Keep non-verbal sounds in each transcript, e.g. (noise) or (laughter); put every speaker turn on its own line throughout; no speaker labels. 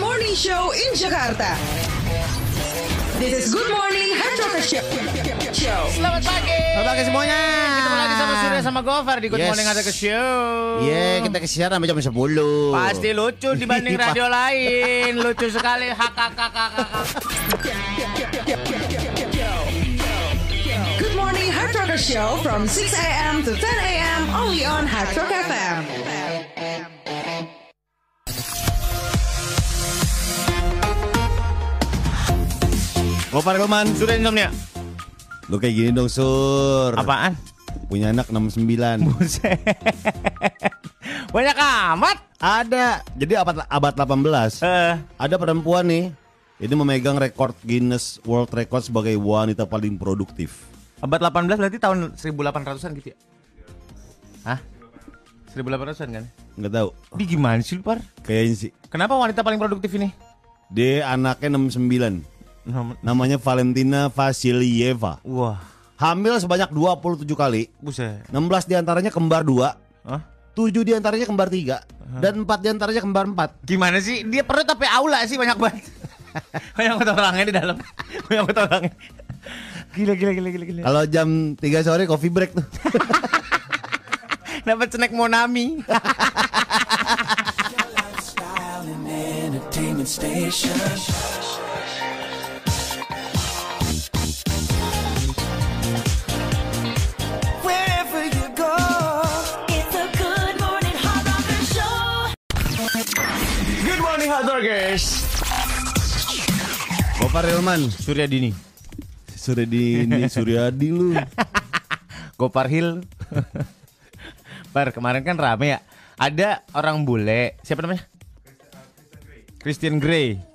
morning show in Jakarta. This is Good Morning Hancock Show.
Selamat pagi.
Selamat pagi semuanya.
Ketemu lagi sama Surya sama Gofar di Good
Yes.
Morning Ada ke Show.
Iya, kita ke siaran sampai jam 10.
(laughs) Pasti lucu dibanding
Pa-
radio lain. Lucu sekali. Hakakakakak.
Good Morning Hard Rocker Show from 6 a.m. to 10 a.m. only on Hard Rock FM.
Gopar Goman.
Sudah insomnia.
Lu kayak gini dong, Sur.
Apaan?
Punya anak 69.
Buset. (laughs) Banyak amat.
Ada. Jadi abad abad 18.
Eh,
Ada perempuan nih. Ini memegang rekor Guinness World Record sebagai wanita paling produktif.
abad 18 berarti tahun 1800-an gitu ya? Hah? 1800-an kan?
Nggak tahu.
Di gimana sih lu, Par?
Kayaknya sih.
Kenapa wanita paling produktif ini?
Dia anaknya 69. Namanya Valentina Vasilieva.
Wah,
Hamil sebanyak 27 kali.
buset.
16 diantaranya kembar 2.
Hah?
7 diantaranya kembar 3. Dan 4 diantaranya kembar 4.
Gimana sih? Dia perut tapi aula sih banyak banget. (laughs) banyak banget orangnya di dalam. banyak banget orangnya. Gila gila gila gila gila.
Kalau jam 3 sore coffee break tuh.
Dapat snack Monami.
Style and entertainment station. Wherever you go.
It's a good morning hard rocker show.
Good morning hot guys.
Gopar Hilman.
Surya Dini.
Suryadi ini Suryadi lu.
Gopar Hill. (laughs) Par kemarin kan rame ya. Ada orang bule. Siapa namanya? Christian Grey.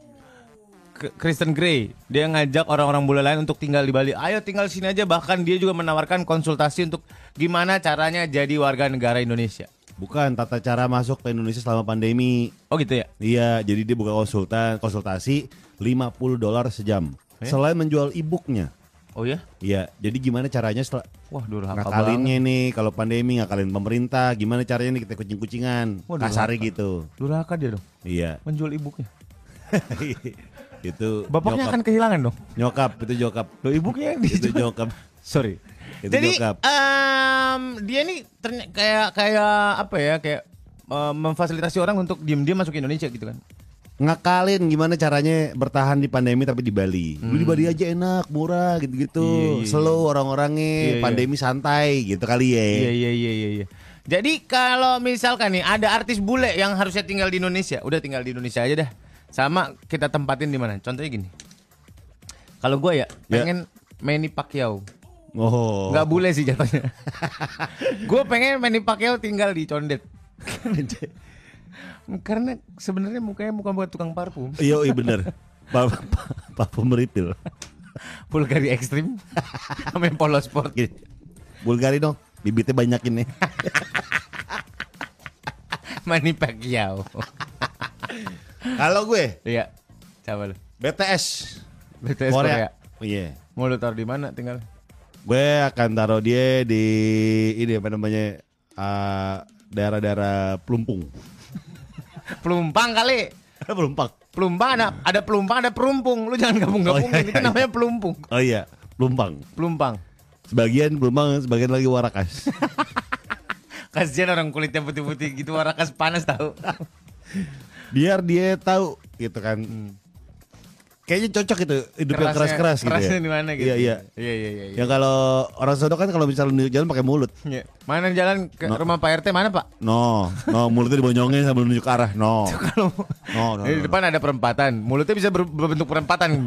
K- Kristen Grey, dia ngajak orang-orang bule lain untuk tinggal di Bali. Ayo tinggal sini aja. Bahkan dia juga menawarkan konsultasi untuk gimana caranya jadi warga negara Indonesia.
Bukan tata cara masuk ke Indonesia selama pandemi.
Oh gitu ya.
Iya, jadi dia buka konsultan, konsultasi 50 dolar sejam.
Eh?
Selain menjual e-booknya.
Oh ya?
Iya, jadi gimana caranya setelah
Wah, durhaka
ngakalinnya nih kalau pandemi ngakalin pemerintah, gimana caranya nih kita kucing-kucingan.
Waduh,
Kasarnya
apa?
gitu.
Durhaka dia dong.
(laughs) Iya.
Menjual ibuknya.
itu
Bapaknya
nyokap.
akan kehilangan dong.
nyokap itu jokap.
Loh ibuknya yang
itu
dijual.
jokap.
Sorry.
Itu
Jadi
jokap.
em, dia nih terny- kayak kayak apa ya kayak em, memfasilitasi orang untuk diem-diem masuk ke Indonesia gitu kan.
ngakalin gimana caranya bertahan di pandemi tapi di Bali. Lu di Bali aja enak, murah gitu-gitu.
Hmm. Iya, iya,
Slow orang-orangnya,
Iya, iya.
pandemi santai gitu kali ya.
Iya iya iya iya. iya. Jadi kalau misalkan nih ada artis bule yang harusnya tinggal di Indonesia, udah tinggal di Indonesia aja dah. Sama kita tempatin di mana? Contohnya gini. Kalau gue ya
Ya.
pengen Manny Pacquiao.
Oh.
Nggak boleh sih jatuhnya.
(laughs)
gue pengen Manny Pacquiao tinggal di
(laughs)
Condet. Karena sebenarnya mukanya muka buat tukang parfum,
Iya,
(laughs)
iya bener. Pak pa, pa, pemeripil.
Bulgari ekstrim, (laughs) sama yang polos sport.
Gini. Bulgari dong, bibitnya (laughs) banyakin nih.
Manny Pacquiao.
Kalau gue
(laughs) Iya, coba lu.
BTS,
BTS
Korea.
Korea.
Iya.
Mau lu taruh di mana tinggal?
Gue akan taruh dia di ini apa namanya? eh, daerah-daerah Plumpung.
Pelumpang kali.
Plumpang.
(laughs) Pelumpang ada ada pelumpang ada perumpung. Lu jangan gabung-gabungin.
Oh, iya, iya,
Itu namanya
iya.
pelumpung.
Oh iya, Plumpang.
Pelumpang.
Sebagian Plumpang, sebagian lagi Warakas.
(laughs) Kasihan orang kulitnya putih-putih gitu warakas panas tahu.
biar dia tahu gitu kan. Kayaknya cocok gitu hidup yang
Hmm. Kerasnya-
keras-keras gitu.
kerasnya
ya.
di mana gitu.
Iya iya.
Iya iya iya. iya.
Yang kalau orang Sodok kan kalau misalnya nunjuk jalan pakai mulut.
Iya. Mana jalan ke rumah Pak RT mana Pak?
No, no mulutnya dibonyongin sambil nunjuk ke arah.
(laughs)
No.
Kalau
No, Oh, no,
di
no, no.
depan ada perempatan, mulutnya bisa ber- berbentuk perempatan.
(laughs)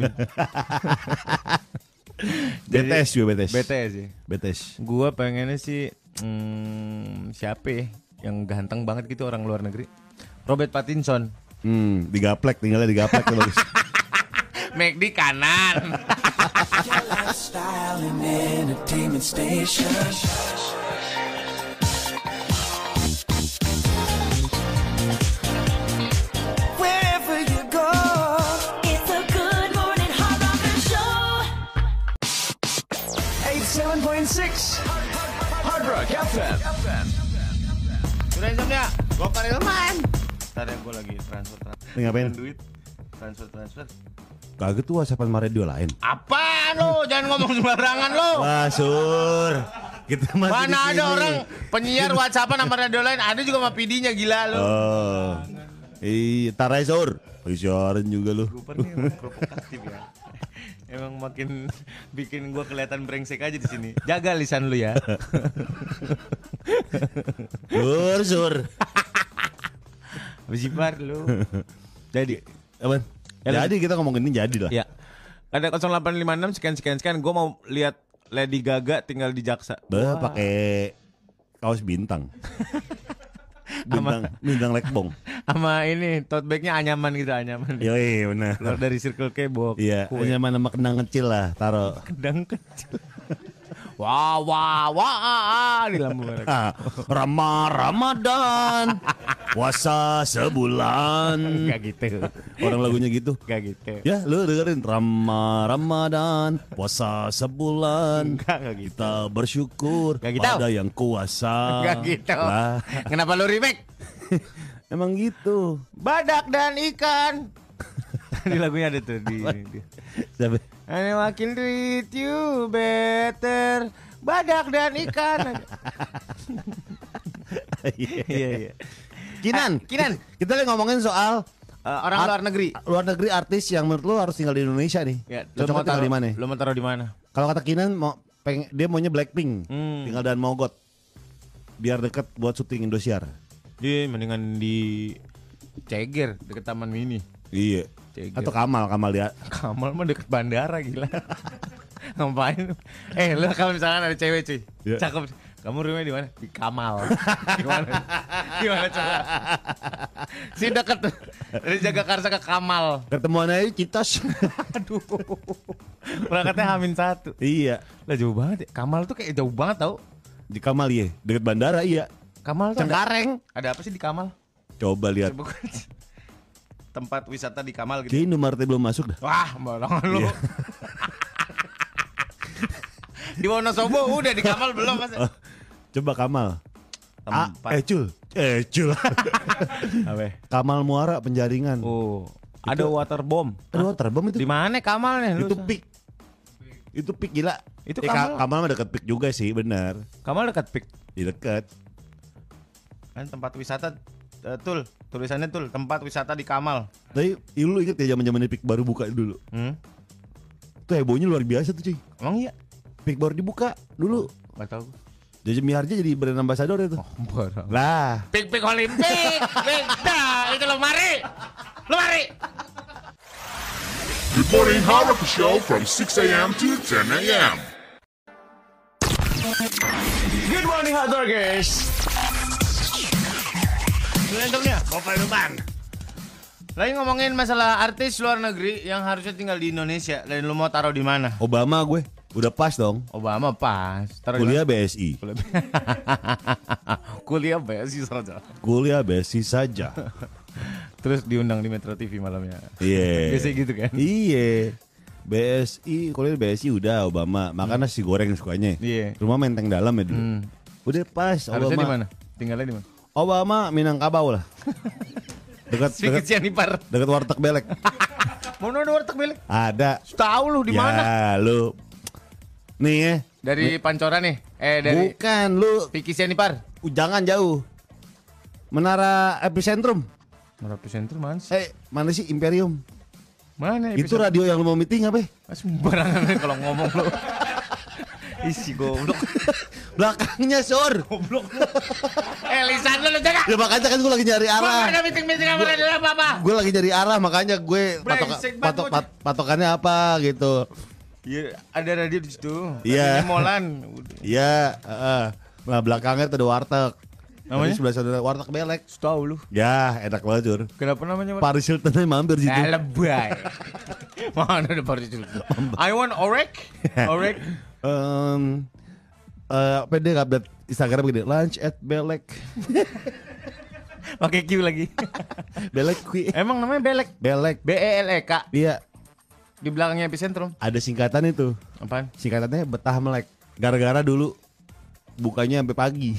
Jadi-
BTS juga BTS.
BTS sih.
BTS.
ya. Gua pengennya sih hmm, siapa ya? yang ganteng banget gitu orang luar negeri. Robert Pattinson.
Hmm, digaplek tinggalnya digaplek tuh
(laughs)
bagus.
Make di (laughs) kanan.
Style and entertainment station. Wherever you go.
It's a good morning hard rocker show.
87.6 Hard Rock FM.
Sudah insomnia, gue Pak Ilman. Ntar ya gue lagi transfer transfer
Ini ngapain?
duit. transfer transfer.
Kaget tuh whatsappan sama radio lain.
Apaan lo? Jangan ngomong sembarangan lo.
Wah, Sur. Kita masih di
Mana ada
sini.
orang penyiar WhatsAppan sama radio lain ada juga sama PD-nya gila lo.
Oh. Iya, tarai Sur. Ih, siaran juga lu.
Cooper nih emang provokatif ya. (laughs) Emang makin bikin gua kelihatan brengsek aja di sini. Jaga lisan lu ya.
Sur, Sur.
Bersibar lu.
Jadi, apa? Jadi kita ngomongin ini jadi lah.
Ya. Ada 0856 sekian sekian sekian. Gue mau lihat Lady Gaga tinggal di Jaksa.
Bah, pakai kaos
(laughs)
bintang. bintang, bintang lekbong.
Sama ini tote bagnya anyaman gitu anyaman.
Yoi, benar.
Keluar dari Circle K bawa
Iya,
kue.
hanya mana kenang kecil lah, taruh.
Kedang kecil. Wah wah wah ah, ah, di lampu (laughs) merah.
Ah, Rama Ramadan, puasa sebulan.
Gak gitu.
Orang lagunya gitu.
Gak gitu. (laughs)
Ya, lu dengerin Rama Ramadan, puasa sebulan.
Enggak, enggak gitu.
Kita bersyukur
Enggak gitu.
pada yang kuasa.
Gak gitu.
Lah,
Kenapa lu remake?
emang gitu.
Badak dan ikan. (laughs) di lagunya ada tuh di. di.
Siapa?
And I can treat you better Badak dan ikan (laughs) Iya iya
Kinan,
Ah, Kinan.
Kita lagi ngomongin soal
Eh, Orang
Art-
luar negeri
luar negeri artis yang menurut lu harus tinggal di Indonesia nih.
Ya, lu
Cocoknya
mau
tinggal
taruh-
di mana?
Lu mau taruh di mana?
Kalau kata Kinan mau peng, dia maunya Blackpink,
Hmm.
tinggal dan Mogot. Biar dekat buat syuting Indosiar.
Di mendingan di Ceger deket Taman Mini.
Iya.
Ceger.
Atau Kamal, Kamal dia.
Kamal mah deket bandara gila. (laughs) Ngapain? Eh lu kalau misalkan ada cewek cuy,
Iya.
cakep. Kamu rumahnya di mana? Di Kamal. (laughs) Gimana? Gimana coba? Si deket dari Jaga Karsa ke Kamal.
Ketemuan aja Citos.
(laughs) Aduh. Berangkatnya Hamin satu.
iya.
Lah jauh banget ya. Kamal tuh kayak jauh banget tau.
Di Kamal iya, dekat bandara iya.
Kamal tuh ada,
Cengkareng.
ada apa sih di Kamal?
Coba lihat.
Coba gua- tempat wisata di Kamal gitu.
Kayaknya Indomaret belum masuk dah.
Wah, bolongan lu.
Iya.
(laughs) di Wonosobo udah di Kamal belum mas.
Oh, Coba Kamal. Ah, eh Cul. Eh
(laughs)
Cul. Kamal Muara penjaringan.
Oh, ada
Itu-
water bomb.
Aduh, terbang itu.
Di mana Kamal nih? Kan Lu-
Itu pik. Itu pik gila.
Itu
Eh,
Kamal.
Ka- Kamal mah deket pik juga sih, benar.
Kamal dekat Pik.
Di deket.
Kan tempat wisata eh, tul tulisannya tul tempat wisata di Kamal.
Tapi ya lu inget ya zaman-zaman pik baru buka dulu.
Hmm?
Itu hebohnya luar biasa tuh, cuy.
Emang iya?
Pik baru dibuka dulu.
Gak tau.
Jaja Miharja jadi brand ambassador itu.
Oh.
Lah,
Pik Pik Olimpik. Beda itu lemari. Lemari.
Good Morning Hard Rock Show from 6 a.m. to 10 a.m.
Good morning, Hard Rockers.
Lagi ngomongin masalah artis luar negeri yang harusnya tinggal di Indonesia dan lu mau taruh di mana?
Obama gue udah pas dong.
Obama pas. Taruh di
Kuliah BSI.
mana? kuliah BSI saja.
Kuliah BSI
(laughs)
saja.
Terus diundang di Metro TV malamnya.
Iya.
Biasanya gitu kan?
Iya. BSI, kuliah BSI udah Obama. Makan nasi goreng sukanya.
Iya. Hmm.
Rumah menteng dalam ya dulu. Udah pas
Harusnya di
Obama.
mana? Tinggalnya di mana?
Obama Minangkabau lah. dekat
Si
dekat
kesian ipar.
dekat warteg belek.
Mau nonton warteg milik?
Ada.
Tahu lu di mana?
Ya, lu. Nih ya.
Dari Pancoran nih. Eh dari
Bukan lu
Vicky Sianipar.
jangan jauh. Menara Epicentrum.
Merapi Sentrum mana sih?
Eh, mana sih Imperium?
Mana
Itu radio yang lu mau meeting apa? ya?
Mas sembarangan aja kalau ngomong lu. Isi goblok.
Belakangnya Sur.
Goblok. lu. eh lisan lu lu jaga.
Ya makanya kan gue lagi nyari
Gua ada
arah.
meeting meeting sama radio apa apa.
Gue lagi nyari arah makanya gue patok,
Brengsek banget
patok,
gua.
pat- patokannya apa gitu.
Iya, ada radio di situ.
Iya.
Radionya Molan.
Iya, heeh. Nah, belakangnya tuh ada warteg.
Namanya?
Jadi sebelah sana ada warteg belek.
Tahu lu.
Ya, enak banget, Sur.
Kenapa namanya? Pak
Paris Hilton aja mampir situ.
Eh, lebay. (laughs) Mana ada Paris Hilton? I want orek. Orek.
Em, eh, apa dia update Instagram gini, lunch at belek.
Pakai Q lagi.
Belek kui.
(laughs) Emang namanya Belek.
Belek.
B E L E K
Iya,
di belakangnya epicentrum.
ada singkatan itu.
Apaan?
Singkatannya betah melek. Gara-gara dulu bukanya sampai pagi.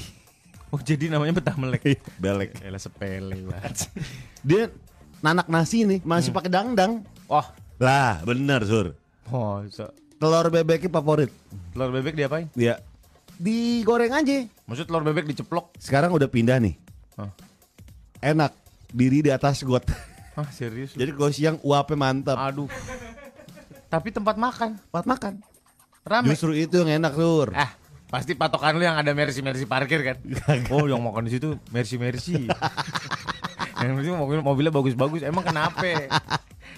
Oh, jadi namanya betah melek.
belek.
Elah sepele banget.
Dia nanak nasi nih masih pakai dangdang.
Wah,
Hmm. Lah, bener sur.
oh, so-
Telur bebeknya favorit.
telur bebek diapain?
Ya. Digoreng aja.
Maksud telur bebek diceplok?
Sekarang udah pindah nih.
Hah?
Enak. Diri di atas got.
Hah, serius? lu?
Jadi Ah. kalau siang uapnya mantap.
Aduh. Tapi tempat makan
Buat makan.
ramai.
Justru itu yang enak sur.
Ah, pasti patokan lu yang ada mercy mercy parkir kan? Oh, yang makan di situ mercy (laughs) mercy. yang mercy mobil mobilnya bagus-bagus. Emang kenapa?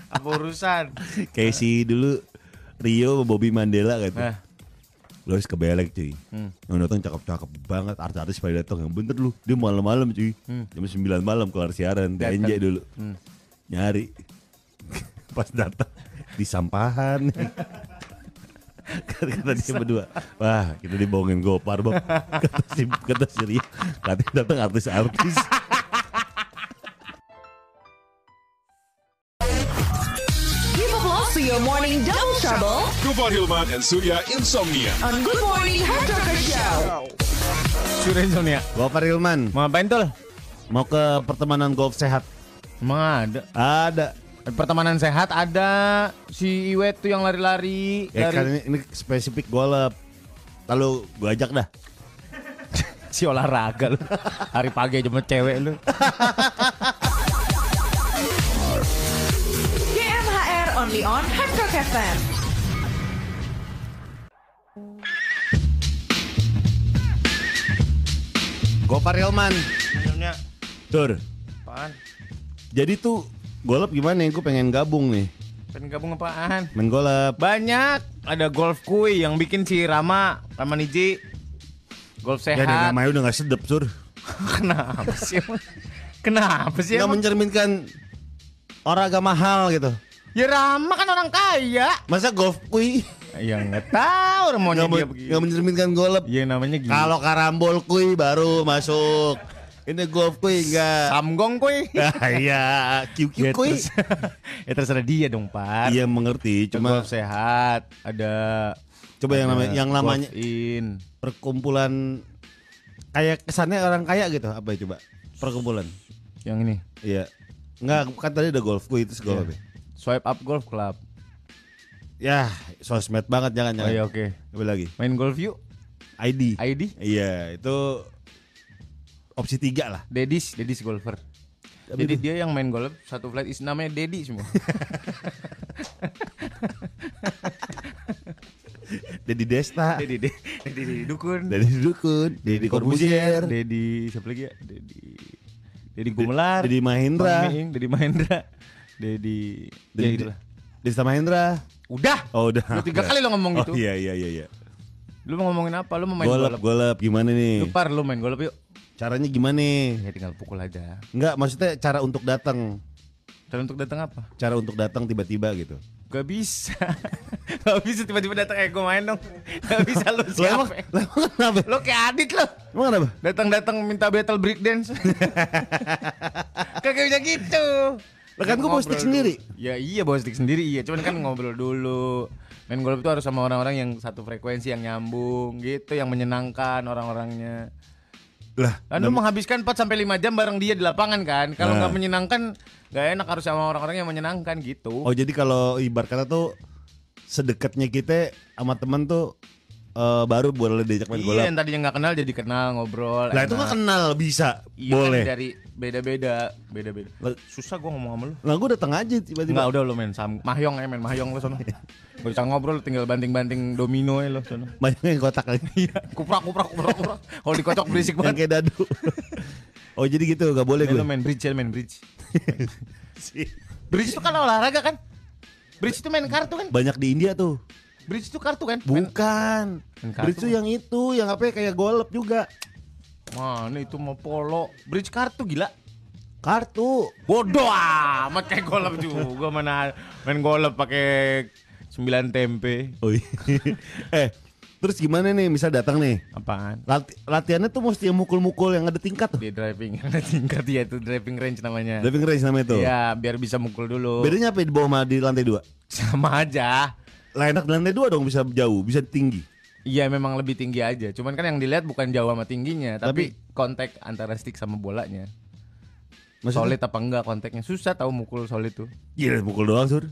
Apa urusan?
Kayak si dulu Rio sama Bobby Mandela gitu.
Nah,
Lu harus kebelek cuy. Yang datang cakep-cakep banget artis-artis pada datang. Yang bener lu, dia malam-malam cuy. Jam 9 malam kelar Hmm. siaran, Hmm.
Datang.
TNJ dulu. Nyari. (laughs) Pas datang di sampahan. (laughs) kata dia berdua, wah kita dibohongin gopar bang. (laughs) Kata si, kata si Rio, katanya datang artis-artis.
Give a blow to your morning double trouble
Gopar Hilman and Surya Insomnia.
on Good Morning Hard Rocker Show.
Sureson ya.
(laughs) Gopar Ilman,
Mau ngapain tol?
mau ke pertemanan golf sehat?
Emang ada.
Ada.
Pertemanan sehat ada si Iwet tuh yang lari-lari
Ya kan
dari
ini, ini spesifik golep. Lalu gue ajak dah.
si olahraga lu. (laughs) Hari pagi aja sama cewek lu.
GMHR only on Hard Rock FM.
Gopar Ilman.
Minumnya
Tur.
apaan?
Jadi tuh golep gimana ya? Gue pengen gabung nih.
Pengen gabung apaan?
Main golep.
Banyak ada golf kui yang bikin si Rama Ramaniji golf
Ya deh
sehat.
namanya udah gak sedep sur.
(laughs) Kenapa sih? emang? Kenapa sih?
Gak
emang?
mencerminkan orang agak mahal gitu.
Ya Rama kan orang kaya.
Masa golf kui
Ya nggak (laughs) tahu
gak,
maunya
men-
dia
gak
begini.
mencerminkan golep.
Ya namanya gini.
Kalau karambol kui baru masuk. Ini golf kui enggak.
Samgong (laughs) kui.
Ah, (laughs) Iya,
Ya,
kiu-kiu kui.
terus- (laughs) ya terserah dia dong, Pak.
Iya mengerti,
Cuma
cuma
golf sehat, ada
coba yang namanya yang
golf
namanya
in.
perkumpulan kayak kesannya orang kaya gitu apa ya coba perkumpulan
yang ini.
iya nggak kan tadi ada golf gue itu segolf
Iya. Swipe up golf club.
ya sosmed banget jangan
Oh
jangan
iya oke.
Coba lagi
Main golf yuk.
ID
ID
iya itu opsi tiga lah
Dedis, Dedis golfer.
Apa
Jadi
itu?
dia yang main golf satu flight is namanya Dedi
(laughs)
semua.
Dedi Desta
Dedi, Dedi, Dedi Dukun,
Dedi Dukun Dedi Corbuzier
Dedi siapa lagi ya? Dedi Dedi Gumelar,
Dedi Mahendra.
Bang Miing, Dedi Mahendra, Dedi ya
Dedi
itulah.
Desta Mahendra
Udah.
oh udah
Lu tiga kali lo ngomong gitu.
oh, iya iya iya iya
Lu mau ngomongin apa? Lu mau main
golf
golf?
golf gimana
Lu
nih
par lu main golf yuk.
caranya gimana
Ya tinggal pukul aja.
nggak maksudnya cara untuk datang
Dan untuk datang apa?
cara untuk datang tiba-tiba gitu
Gak bisa. (laughs) Gak bisa tiba-tiba datang eh gue main dong. (laughs) Gak bisa lu
Lah, emang-
siapa?
lah, emang kenapa
Lu kayak adit lu.
emang kenapa
Datang-datang minta battle break
(laughs)
dance. Kagak bisa gitu.
Lah kan gua bawa
Ngobrol
stick sendiri.
dulu. Ya iya bawa stick sendiri iya, cuman kan ngobrol dulu. Main golf itu harus sama orang-orang yang satu frekuensi yang nyambung gitu, yang menyenangkan orang-orangnya.
lah
Kan lu menghabiskan 4 sampai 5 jam bareng dia di lapangan kan. Kalau
Nah.
nggak menyenangkan, nggak enak harus sama orang-orang yang menyenangkan gitu.
Oh jadi kalau ibarat kata tuh sedekatnya kita sama teman tuh eh, baru boleh diajak main bola.
iya, yang tadinya nggak kenal jadi kenal ngobrol.
Lah itu
enak.
nggak kenal bisa
Iya, kan
boleh.
dari beda-beda, beda-beda.
Lah-
Susah gua ngomong sama lu.
Lah gue datang aja
Enggak
tiba-tiba.
udah lu main sam mahyong ya main mahyong lu (laughs) sono. Gak bisa ngobrol tinggal banting-banting domino ya lu sono.
Banyak yang kotak aja.
(laughs) Iya, kuprak kuprak kuprak kuprak. Kalau dikocok berisik
yang
banget.
kayak dadu. (laughs) oh jadi gitu gak boleh
Main
gue.
lu main bridge, ya, main bridge. Bridge itu kan olahraga kan? Bridge itu main kartu kan?
(laughs) Banyak di India tuh.
Bridge itu kartu kan? Main-
Bukan.
Main kartu.
Bridge tuh yang itu, yang apa ya, kayak golep juga.
Mana itu mau polo? Bridge kartu gila.
Kartu.
Bodoh amat kayak golep juga mana main golep pakai 9 tempe.
Oh, iya. (laughs) eh, terus gimana nih misal datang nih?
Apaan?
Lati- latihannya tuh mesti yang mukul-mukul yang ada tingkat tuh.
Dia driving (laughs) tingkat dia itu driving range namanya.
Diving Iya. range namanya tuh.
Iya, biar bisa mukul dulu.
Bedanya apa ya di bawah sama di lantai dua?
Sama aja.
Lah enak di lantai dua dong bisa jauh, bisa tinggi.
Iya memang lebih tinggi aja. Cuman kan yang dilihat bukan jauh sama tingginya, tapi, kontak antara stick sama bolanya.
Maksudnya?
solid apa enggak kontaknya susah tahu mukul solid tuh
Gila pukul doang sur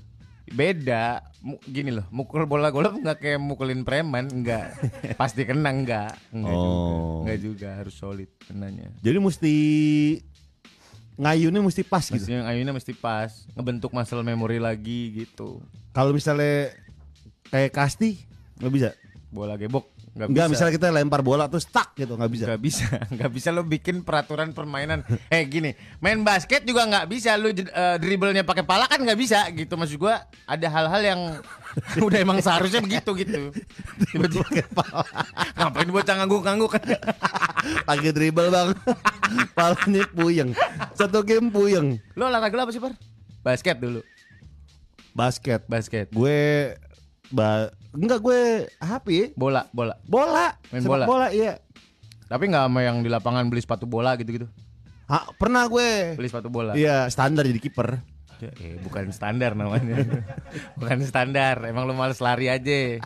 beda Mu- gini loh mukul bola golf nggak kayak mukulin preman
(laughs)
nggak pasti kena nggak nggak juga
Oh.
nggak juga harus solid kenanya
Jadi mesti Ngayunnya mesti pas gitu
Maksudnya ayunya mesti pas ngebentuk muscle memory lagi gitu
Kalau misalnya Kayak kasti Gak bisa
bola gebok nggak
Enggak
bisa
misalnya kita lempar bola terus tak gitu Gak bisa
nggak bisa (laughs) nggak bisa lo bikin peraturan permainan eh gini main basket juga nggak bisa lo jed- eh, dribblenya pakai pala kan nggak bisa gitu maksud gua ada hal-hal yang (laughs) udah emang seharusnya begitu gitu tiba-tiba (laughs) ngapain bocah ngangguk-ngangguk
Pakai dribble bang (laughs) Palanya puyeng Satu game puyeng
(laughs) Lo olahraga lo apa sih, Par? Basket dulu.
Basket
Basket.
Gue ba Enggak gue HP
Bola, bola.
Bola
Main bola.
Sepak bola iya
Tapi nggak sama yang di lapangan beli sepatu bola gitu-gitu.
Ah, Pernah gue
Beli sepatu bola.
Iya standar jadi kiper
Eh, bukan standar namanya. (laughs) bukan standar. Emang lo males lari aja.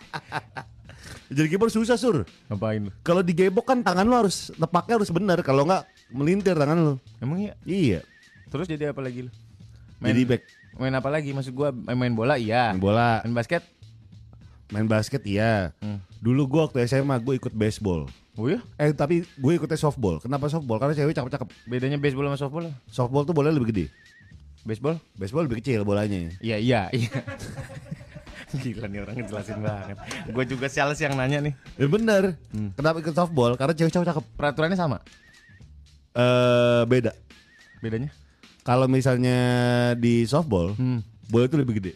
Jadi kiper susah sur
Ngapain lo?
Kalau digebok kan tangan lu harus Tepaknya harus benar Kalau nggak melintir tangan lu
Emang iya.
Iya
Terus jadi apa lagi lo?
Jadi back
Main apa lagi? Maksud gua main bola Hmm. iya.
Main bola
Main basket?
Main basket iya Dulu gue waktu SMA gue ikut baseball
Oh iya.
Eh tapi gue ikutnya softball Kenapa softball? Karena cewek cakep-cakep
Bedanya baseball sama softball?
Softball tuh bolanya lebih gede
Baseball?
Baseball lebih kecil bolanya
Iya, iya, iya. (laughs) Gila nih orang ngejelasin banget. Gue juga sales yang nanya nih.
Ya bener
Hmm.
Kenapa ikut softball? Karena cewek cakep-cakep
Peraturannya sama?
eh Beda
Bedanya?
Kalau misalnya di softball
Hmm.
Bola tuh lebih gede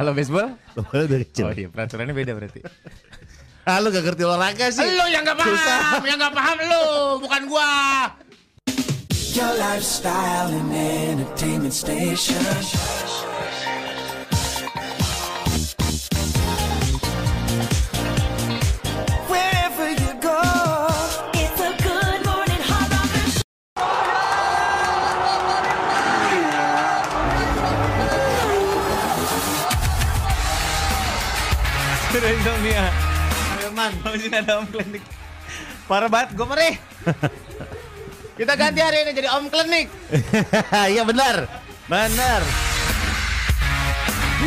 Halo baseball?
Kalau Bola udah kecil
Oh iya, peraturannya beda berarti.
Ah lu gak ngerti olahraga sih
Lo yang gak paham, yang gak paham lo, bukan gua.
Your lifestyle and entertainment station. Wherever you go,
It's a good morning hard rocker show.
Terus dong dia. Firman, masih ada ya? Om Klinik. Parah banget, gue perih. Kita ganti hari ini jadi Om Klinik.
(laughs) Iya benar Benar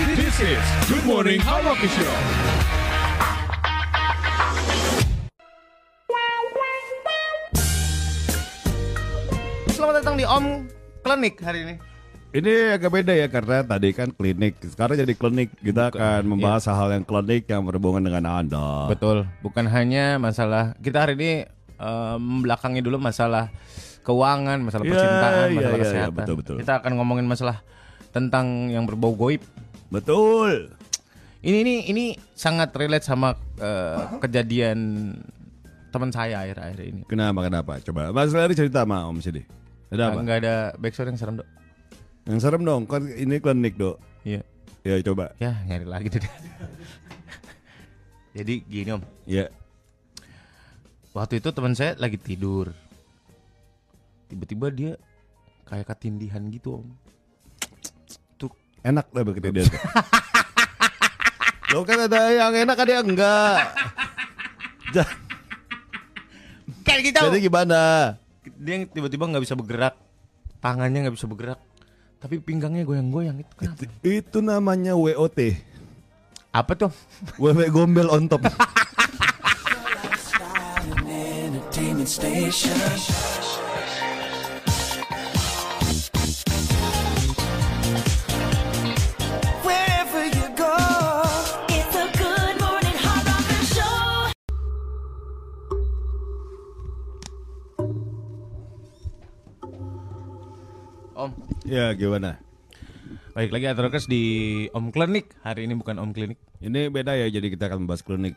This is Good Morning Hard Rock Show.
Selamat datang di Om Klinik hari ini.
Ini agak beda ya karena tadi kan klinik, sekarang jadi klinik. Kita akan
iya.
membahas hal-hal yang klinik yang berhubungan dengan Anda.
Betul, bukan hanya masalah kita hari ini eh, membelakangi dulu masalah keuangan, masalah
Iya,
percintaan,
iya,
masalah
iya,
kesehatan.
betul, betul.
Kita akan ngomongin masalah tentang yang berbau goib.
Betul.
Ini ini ini sangat relate sama eh, kejadian teman saya akhir-akhir ini.
Kenapa kenapa? Coba Mas Larry cerita sama Om sini. Ada apa?
Enggak ada backstory yang serem, Dok.
Yang serem dong, kan ini klinik dok.
Iya.
Ya coba.
Ya, nyari lagi tuh. dia. (laughs) Jadi gini, Om.
Ya.
Waktu itu teman saya lagi tidur. Tiba-tiba dia kayak ketindihan gitu, Om. Tuh
Enak lah begitu
(laughs)
dia. tuh. Lo kan ada yang enak ada yang enggak. Ja-
kan kita
Jadi gimana?
dia yang tiba-tiba nggak bisa bergerak, tangannya nggak bisa bergerak, tapi pinggangnya goyang-goyang itu kenapa?
Itu namanya WOT.
Apa tuh?
(laughs) Wewe gombel on top.
entertainment station. Wherever you go,
It's a good morning hard rocker show.
Om,
(laughs) ya gimana?
Baik lagi Atrokers di Om Klinik Hari ini bukan Om Klinik
Ini beda ya, jadi kita akan membahas klinik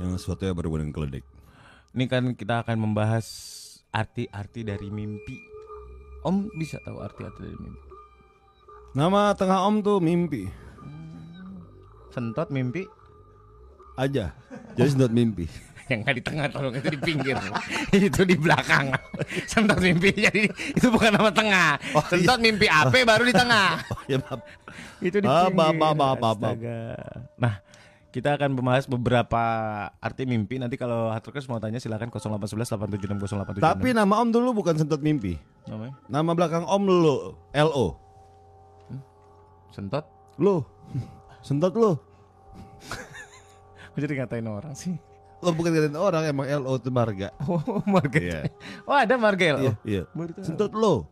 yang sesuatu yang berhubungan dengan klinik.
Ini kan kita akan membahas arti-arti dari mimpi Om bisa tahu arti-arti dari mimpi
Nama tengah Om tuh mimpi
Sentot mimpi
aja, jadi not mimpi.
(laughs)
(laughs)
Yang nggak di tengah tolong itu di pinggir (laughs) Itu di belakang (laughs) Sentot mimpi jadi itu bukan nama tengah
Oh,
Sentot mimpi AP baru di (laughs) tengah
Oh ya maaf.
Itu di
Ah,
pinggir
maaf, maaf, maaf, maaf.
astaga. Nah kita akan membahas beberapa arti mimpi Nanti kalau Hatrokers mau tanya silahkan 0811 876
Tapi nama Om dulu bukan sentot mimpi.
namanya
Nama belakang Om lo, LO.
sentot
Lo. (laughs) Sentot lo.
Kok jadi ngatain orang sih
Lo bukan katain orang, emang LO itu marga.
(laughs) oh market
Iya.
oh ada market
Iya,
oh,
iya.
baru tahu.
Sentot lo.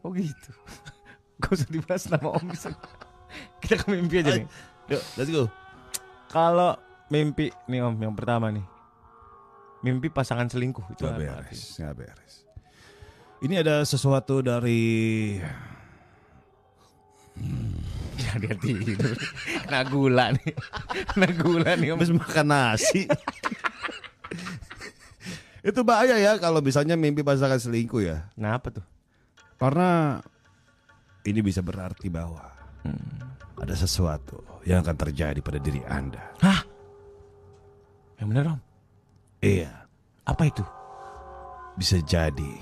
oh gitu (laughs) gak usah dibahas nama om bisa (laughs) kita ke mimpi aja nih
Yuk, let's go.
kalau mimpi nih om yang pertama nih mimpi pasangan selingkuh itu
Gak
apa
beres,
artinya?
gak beres. Ini ada sesuatu dari
ya dia tidur (laughs) kena gula nih (laughs) kena gula nih om
habis makan nasi. (laughs) itu bahaya ya kalau misalnya mimpi pasangan selingkuh ya.
kenapa tuh
Karena ini bisa berarti bahwa ada sesuatu yang akan terjadi pada diri Anda.
hah yang bener om
Iya,
apa itu
bisa jadi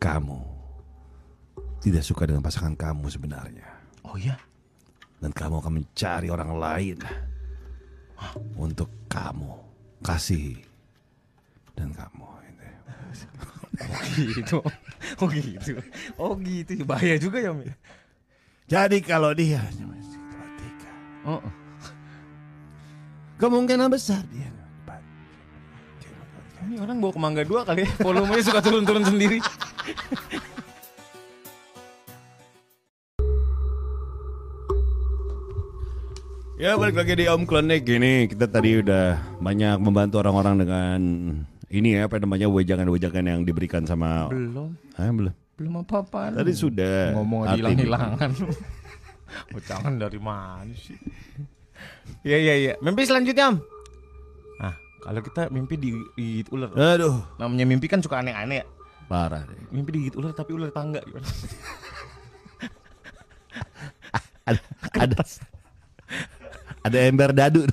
kamu tidak suka dengan pasangan kamu sebenarnya.
oh iya
Dan kamu akan mencari orang lain untuk kamu kasih dan kamu. ya. ini.
(laughs) gitu Om. oh gitu oh gitu bahaya juga ya om ya.
Jadi kalau dia hanya masih tiga,
oh oh.
kemungkinan besar dia empat.
ini orang bawa kemangga dua kali ya. volumenya suka turun-turun sendiri
Ya balik lagi di Om Klonek gini kita tadi udah banyak membantu orang-orang dengan ini ya apa namanya wejangan-wejangan yang diberikan sama
belum
Ah, belum.
belum apa-apa
Tadi sudah
Hmm. ngomong (laughs)
Arti-
hilang-hilangan Ucangan Oh, dari mana sih Iya iya iya Mimpi selanjutnya om Nah kalau kita mimpi di- digigit ular Om.
Aduh,
Namanya mimpi kan suka aneh-aneh ya
parah deh.
Mimpi digigit ular tapi ular tangga gimana?
Ada ada, ada ember dadu.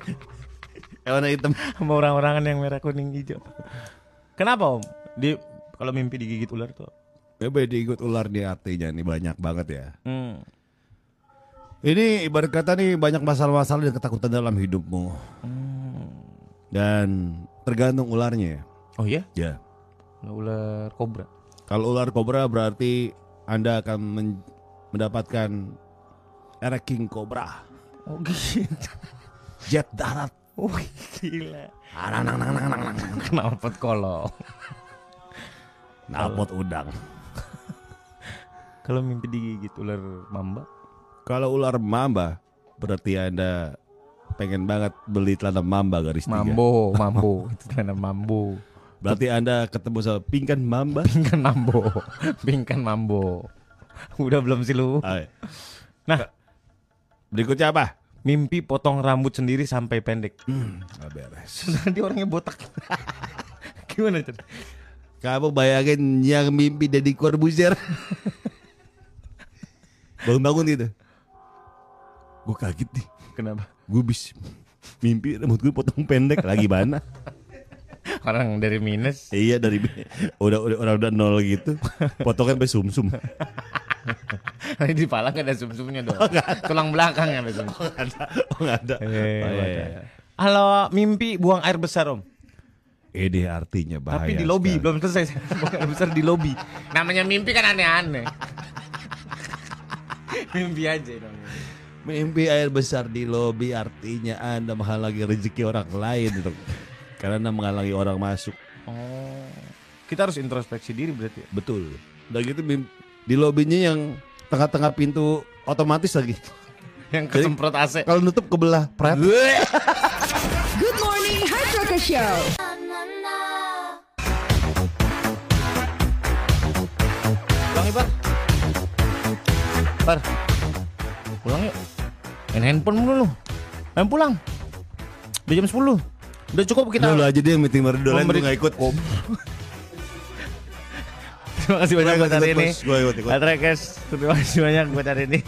(laughs)
yang warna hitam.
(laughs) Sama orang-orangan yang merah kuning hijau Kenapa om? Di kalau mimpi digigit ular tuh
Bebe diikut ular di artinya nih banyak banget ya.
hmm.
Ini ibarat kata nih banyak masalah-masalah dan ketakutan dalam hidupmu. Hmm. Dan tergantung ularnya ya.
Oh iya?
Ya.
Nggak ular kobra
Kalau ular kobra berarti Anda akan men- mendapatkan King Cobra,
Oh gitu (laughs)
jet darat. Ah,
Oh gila Kenapa pot kolong?
Napot udang.
Kalau mimpi digigit ular mamba
Kalau ular mamba berarti Anda pengen banget beli celana mamba garis tiga.
Mambo, mambo, (laughs) itu tanda mambo.
Berarti Anda ketemu sama pingkan mamba. (laughs)
Pingkan mambo, pingkan mambo. Udah belum sih lu?
Ayo.
Nah,
Berikutnya apa?
mimpi potong rambut sendiri sampai pendek. (laughs)
Nggak beres.
Nanti orangnya botak. (laughs) Gimana Chan?
Kamu bayangin yang mimpi jadi Corbuzier. (laughs) Bangun-bangun gitu. Gue kaget nih.
Kenapa?
Gue bis mimpi rambut gue potong pendek lagi mana?
Orang dari minus. (laughs)
iya dari udah udah udah, udah nol gitu. Potongan sampai sumsum.
Nanti di pala gak ada sumsumnya
(laughs)
dong. Tulang belakang yang ada sum.
Oh nggak (laughs) ada, oh nggak ada. Oh, iya, iya.
Halo, mimpi buang air besar om.
Ini artinya bahaya.
Tapi di lobi
sekali.
belum selesai.
(laughs)
Buang air besar di lobi. Namanya mimpi kan (laughs) aneh-aneh. mimpi aja namanya.
Mimpi air besar di lobi artinya Anda menghalangi rezeki orang lain gitu. (laughs) Karena menghalangi orang masuk.
Oh. Kita harus introspeksi diri berarti. ya?
Betul. Dan gitu mim- di lobinya yang tengah-tengah pintu otomatis lagi.
Yang kesemprot AC.
Kalau nutup kebelah pret.
Good morning, Hard Rocker Show.
Bang Ibar. Bar. Pulang yuk. Main handphone mulu lu. Main pulang. Udah jam 10. Udah cukup kita. (laughs)
Udah lu aja deh meeting baru dolan
Memberi-
gue gak ikut.
Terima kasih banyak
Gua
buat
ikut,
hari
ikut,
ini.
Bos. Gua ikut, ikut.
Atrakes, terima kasih banyak buat hari ini.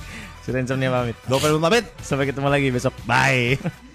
Sudah insomnia pamit.
Gopel pamit.
Sampai ketemu lagi besok. Bye.